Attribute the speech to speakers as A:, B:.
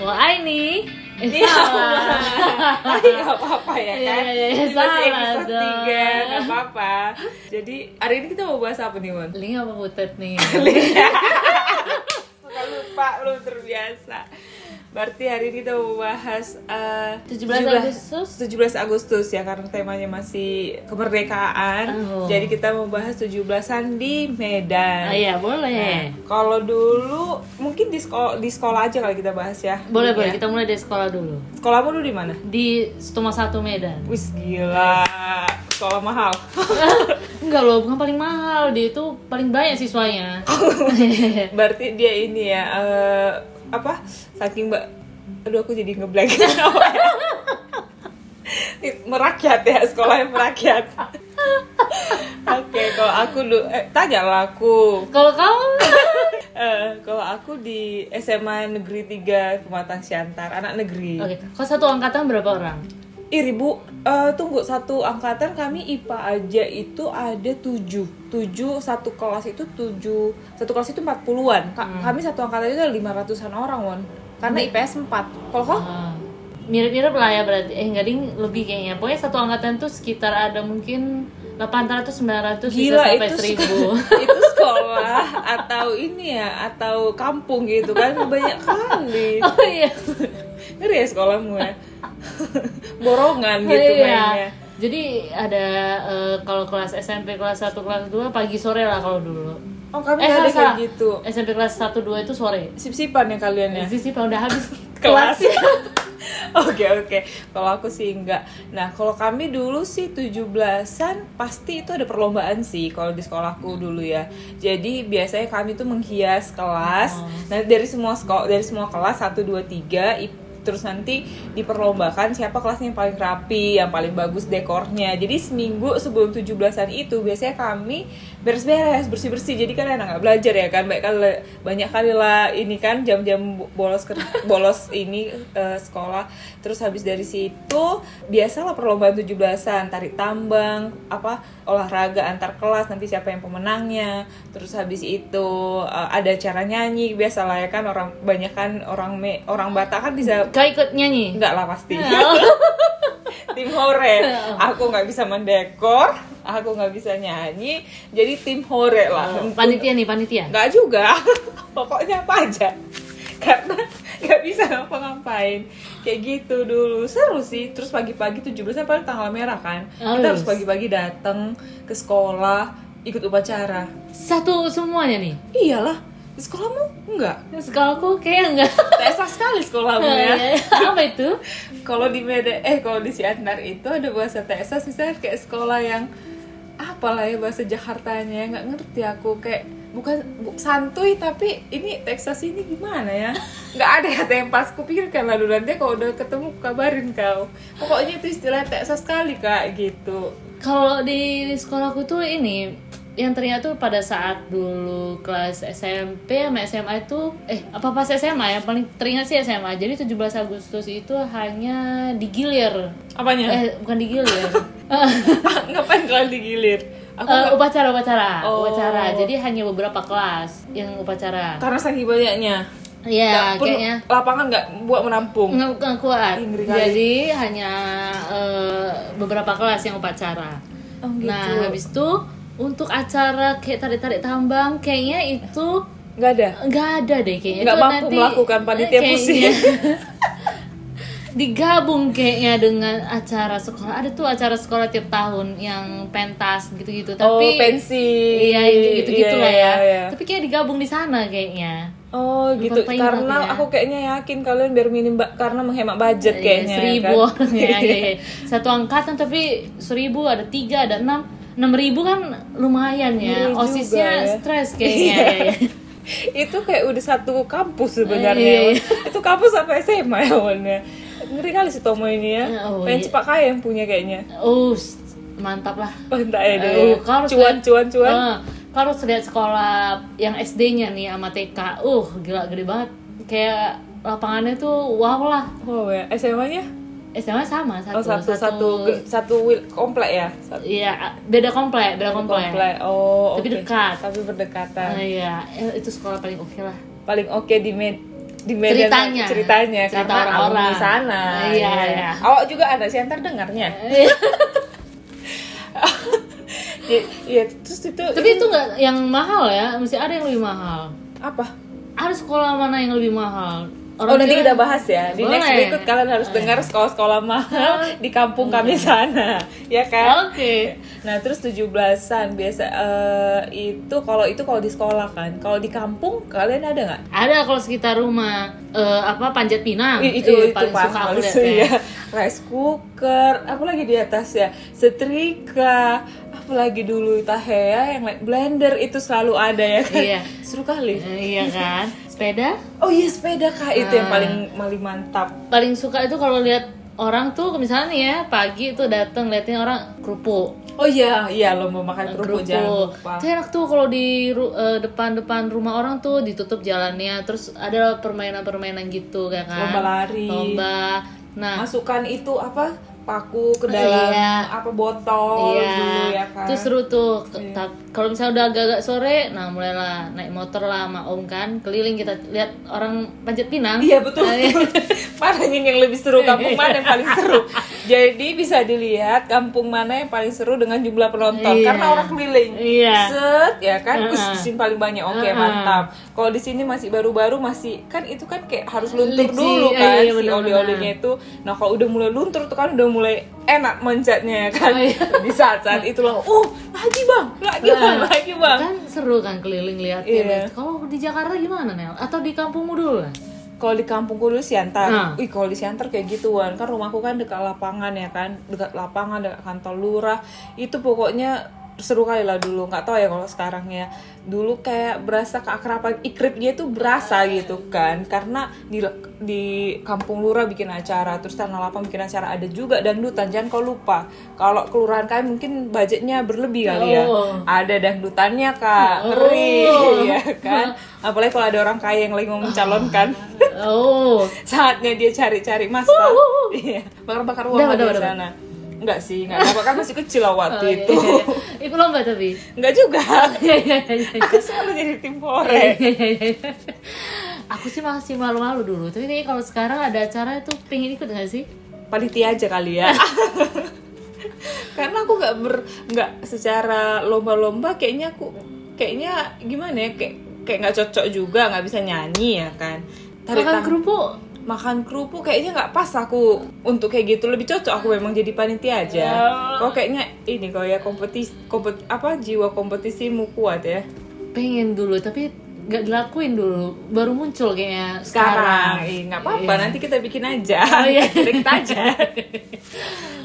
A: Wah ini eh,
B: Iya,
A: salah.
B: Tapi nggak apa-apa ya
A: Iya,
B: kan?
A: iya, iya,
B: Ini masih
A: salah
B: episode
A: dong.
B: tiga, nggak apa-apa. Jadi hari ini kita mau bahas apa nih, Mon?
A: Link apa butet nih?
B: Suka lupa, lu terbiasa. Berarti hari ini kita mau bahas eh,
A: 17 Agustus.
B: 17 Agustus ya karena temanya masih kemerdekaan.
A: Oh.
B: Jadi kita mau bahas 17-an di Medan. Nah,
A: Oh iya boleh.
B: Kalau dulu mungkin di sekolah di sekolah aja kali kita bahas ya.
A: Boleh boleh
B: Iya.
A: kita mulai dari sekolah dulu.
B: Sekolahmu dulu di mana?
A: Di Stoma 1 Medan.
B: Wis gila. Sekolah mahal.
A: Enggak loh, bukan paling mahal, dia itu paling banyak siswanya.
B: Berarti dia ini ya eh, apa? Saking Mbak Aduh aku jadi ngeblank. merakyat ya sekolahnya merakyat. Oke, kalau aku dulu eh, tanya lah aku.
A: Kalau kamu
B: Eh, kalau aku di SMA Negeri 3 Pematang Siantar, anak negeri.
A: Oke, kalau satu angkatan berapa orang?
B: Ih ribu, eh, tunggu satu angkatan kami IPA aja itu ada tujuh, tujuh satu kelas itu tujuh, satu kelas itu empat puluhan.
A: Hmm.
B: Kami satu angkatan itu ada lima ratusan orang won, karena IPS empat. Kalau kau?
A: Ah, Mirip-mirip lah ya berarti. Eh enggak ding lebih kayaknya. Pokoknya satu angkatan tuh sekitar ada mungkin 800 900
B: Gila
A: bisa sampai
B: itu sek-
A: 1000.
B: itu sekolah atau ini ya atau kampung gitu kan banyak kali.
A: Oh iya.
B: Ngeri ya sekolahmu ya. Borongan gitu
A: Iya.
B: mainnya.
A: Jadi ada eh, kalau kelas SMP kelas 1 kelas 2 pagi sore lah kalau dulu.
B: Oh kami
A: Eh,
B: nggak ada
A: salah,
B: kayak gitu.
A: SMP kelas 1 2 itu sore.
B: Sip-sipan ya kalian ya.
A: Sisi kalau udah habis
B: kelas
A: kelasnya.
B: Oke oke, kalau aku sih enggak. Nah kalau kami dulu sih 17-an pasti itu ada perlombaan sih kalau di sekolahku dulu ya. Jadi biasanya kami tuh menghias kelas. Nah dari semua sekolah dari semua kelas 1 2 3 i- terus nanti diperlombakan siapa kelasnya yang paling rapi, yang paling bagus dekornya. Jadi seminggu sebelum 17-an itu biasanya kami beres-beres, bersih-bersih. Jadi kan anak nggak belajar ya kan, banyak kali banyak kali lah ini kan jam-jam bo- bolos ker- bolos ini eh, sekolah. Terus habis dari situ biasalah perlombaan 17-an, tarik tambang, apa olahraga antar kelas nanti siapa yang pemenangnya. Terus habis itu eh, ada acara nyanyi biasalah ya kan orang banyak kan orang me- orang Batak kan bisa
A: Kau ikut nyanyi?
B: Enggak lah pasti. tim hore. Aku nggak bisa mendekor, aku nggak bisa nyanyi, jadi tim hore lah.
A: Panitia nih, panitia.
B: Nggak juga. Pokoknya apa aja. Karena nggak bisa ngapa-ngapain. Kayak gitu dulu. Seru sih. Terus pagi-pagi 17 paling tanggal merah kan. Kita
A: Harus.
B: harus pagi-pagi datang ke sekolah ikut upacara.
A: Satu semuanya nih.
B: Iyalah, di sekolahmu enggak.
A: Sekolahku kayak enggak.
B: Tesa sekali
A: Oh,
B: sekolahmu ya.
A: Apa itu?
B: kalau di Medan eh kalau di Siantar itu ada bahasa TSS misalnya kayak sekolah yang apalah ya bahasa Jakartanya nggak ngerti aku kayak bukan bu- santuy tapi ini Texas ini gimana ya nggak ada kata yang pas kupikirkan lalu nanti kalau udah ketemu kabarin kau pokoknya itu istilah Texas sekali kak gitu
A: Kalau di sekolahku tuh ini yang ternyata tuh pada saat dulu kelas SMP sama SMA itu eh apa pas SMA yang paling teringat sih SMA. Jadi 17 Agustus itu hanya digilir.
B: apanya
A: Eh bukan digilir.
B: ngapain kalau digilir aku
A: Eh, upacara upacara
B: Oh.
A: upacara jadi hanya beberapa kelas yang upacara
B: karena saking banyaknya
A: ya
B: Pun
A: kayaknya
B: lapangan nggak buat menampung
A: nggak nggak kuat
B: Ih, ngeri kali.
A: jadi hanya eh, beberapa kelas yang upacara
B: Oh, gitu.
A: nah habis itu untuk acara kayak tarik tarik tambang kayaknya itu
B: nggak ada
A: nggak ada deh kayaknya
B: Nggak
A: Itu
B: mampu melakukan, panitia
A: kayaknya-
B: pusing.
A: digabung kayaknya dengan acara sekolah ada tuh acara sekolah tiap tahun yang pentas gitu-gitu
B: oh
A: tapi
B: pensi
A: iya gitu gitu
B: Iya,
A: lah ya
B: iya, iya.
A: tapi kayak digabung di sana kayaknya
B: Oh gitu,
A: Lupa ingat
B: karena
A: ya.
B: aku kayaknya yakin kalian biar minim ba- karena menghemat budget kayaknya.
A: Iya, seribu
B: kan?
A: orang ya, iya, iya. satu angkatan tapi seribu ada tiga ada enam enam ribu kan lumayan
B: Iya
A: ya
B: juga
A: osisnya
B: ya.
A: stres kayaknya
B: Iya.
A: ya, ya.
B: Itu kayak udah satu kampus
A: Iya,
B: sebenarnya.
A: iya.
B: Itu kampus sampai SMA ya awalnya. Ngeri kali si Tomo ini ya.
A: Oh,
B: Pengen
A: iya.
B: cepak kaya yang punya kayaknya.
A: Oh, mantap lah
B: Oh, entah ya deh.
A: Eh, kau harus
B: cuan,
A: lihat-
B: cuan, cuan.
A: Eh, kau harus lihat sekolah yang SD-nya nih sama TK uh gila gede banget kayak lapangannya tuh wow lah
B: Wow ya, SMA-nya?
A: SMA sama satu
B: Oh satu, satu, ge- satu, wil- komplek ya? Satu
A: iya beda komplek beda komplek,
B: komplek. Oh,
A: Tapi
B: oke.
A: dekat. Ah,
B: Tapi berdekatan.
A: Eh, iya Eh, itu sekolah paling oke lah
B: Paling oke di med di Medan
A: Ceritanya.
B: ceritanya
A: Cerita
B: karena
A: orang-orang.
B: orang di sana
A: Ah, iya,
B: Iya.
A: iya.
B: awak juga ada sih antar dengarnya ya, ya, terus itu
A: Tapi itu nggak yang mahal ya, mesti ada yang lebih mahal.
B: apa
A: Ada sekolah mana yang lebih mahal?
B: oh nanti
A: kira-
B: kita bahas ya di
A: Boleh. Oh, iya.
B: next berikut kalian harus dengar sekolah-sekolah mahal di kampung kami sana ya
A: Oke.
B: kan Nah, terus 17-an biasa eh, itu kalau itu kalau di sekolah kan. Kalau di kampung kalian ada nggak?
A: Ada kalau sekitar rumah eh, apa panjat pinang. Iya,
B: I- itu
A: Ih,
B: itu paham itu
A: liatnya.
B: ya. Rice cooker, apa lagi di atas ya? Setrika, apalagi dulu Tahea yang lain- blender itu selalu ada ya kan.
A: Iya.
B: Seru kali.
A: Eh, iya kan? Sepeda?
B: Oh iya sepeda kak itu
A: Ah.
B: yang paling paling mantap.
A: Paling suka itu kalau lihat orang tuh misalnya nih ya pagi tuh datang liatin orang kerupuk.
B: Oh iya, iya lomba makan kerupuk jangan
A: kerupuk.
B: lupa.
A: Itu enak tuh kalau di ru- eh, depan-depan rumah orang tuh ditutup jalannya, terus ada permainan-permainan gitu kayak kan.
B: Lomba lari.
A: Lomba. Nah,
B: Masukkan itu apa? Paku ke dalam
A: Iya.
B: apa botol dulu ya kan.
A: Itu Iya, seru tuh. Ke- ta- Kalau misalnya udah agak-agak sore, nah mulailah naik motor lah sama Om kan, keliling kita lihat orang panjat pinang.
B: Iya betul.
A: Nah, iya.
B: mana yang yang lebih seru? Kampung mana yang paling seru? Jadi bisa dilihat kampung mana yang paling seru dengan jumlah penonton
A: Iya.
B: karena orang keliling.
A: Iya.
B: Set ya kan? Us,
A: Uh-uh.
B: di sini paling banyak. Oke,
A: Uh-uh.
B: mantap. Kalau di sini masih baru-baru masih kan itu kan kayak harus luntur
A: Licin.
B: dulu
A: Iya,
B: kan
A: iya,
B: si
A: benar-benar.
B: oli-olinya itu. Nah, kalau udah mulai luntur tuh kan udah mulai enak mencetnya ya kan.
A: Oh, iya.
B: Di saat-saat itulah, "Uh, lagi Bang, lagi Bang, lagi Bang."
A: kan seru kan keliling liatin.
B: Iya.
A: Kalau di Jakarta gimana Nel? Atau di kampungmu dulu lah?
B: kalau di ya, kampungku dulu Siantar,
A: Nah.
B: wih kalau di Siantar kayak gituan kan rumahku kan dekat lapangan ya kan, dekat lapangan dekat kantor lurah, itu pokoknya seru kali lah dulu, nggak tahu ya kalau sekarang ya, dulu kayak berasa keakraban ikripnya itu berasa gitu kan, karena di di kampung lurah bikin acara, terus tanah lapang bikin acara ada juga dangdutan, jangan kau lupa, kalau kelurahan kalian mungkin budgetnya berlebih kali ya,
A: Oh.
B: ada dangdutannya kak, ngeri, ya kan, apalagi kalau ada orang kaya yang lagi mau mencalonkan
A: Oh,
B: saatnya dia cari-cari masa iya bakar-bakar uang
A: Udah,
B: lah
A: udah,
B: di
A: udah. Oh, iya,
B: sana enggak sih enggak dapat kan masih kecil lah waktu itu
A: ikut lomba tapi.
B: enggak juga
A: Iya, iya, iya, iya. Eh.
B: aku selalu jadi tim pore
A: Aku sih masih malu-malu dulu, tapi kayaknya kalau sekarang ada acara itu pengen ikut gak sih?
B: panitia aja kali ya
A: Eh.
B: karena aku nggak ber nggak secara lomba-lomba kayaknya aku kayaknya gimana ya kayak kayak nggak cocok juga nggak bisa nyanyi ya kan Tarik
A: Makan
B: tang-
A: kerupuk.
B: makan kerupuk kayaknya nggak pas aku untuk kayak gitu lebih cocok aku memang jadi panitia aja
A: Ya.
B: kok kayaknya ini kok ya kompetisi kompet, apa jiwa kompetisimu kuat ya
A: pengen dulu tapi nggak dilakuin dulu baru muncul
B: sekarang
A: kayaknya
B: Iya,
A: sekarang, Iya.
B: Ih, nggak apa-apa nanti kita bikin aja
A: Oh, iya.
B: Kita bikin aja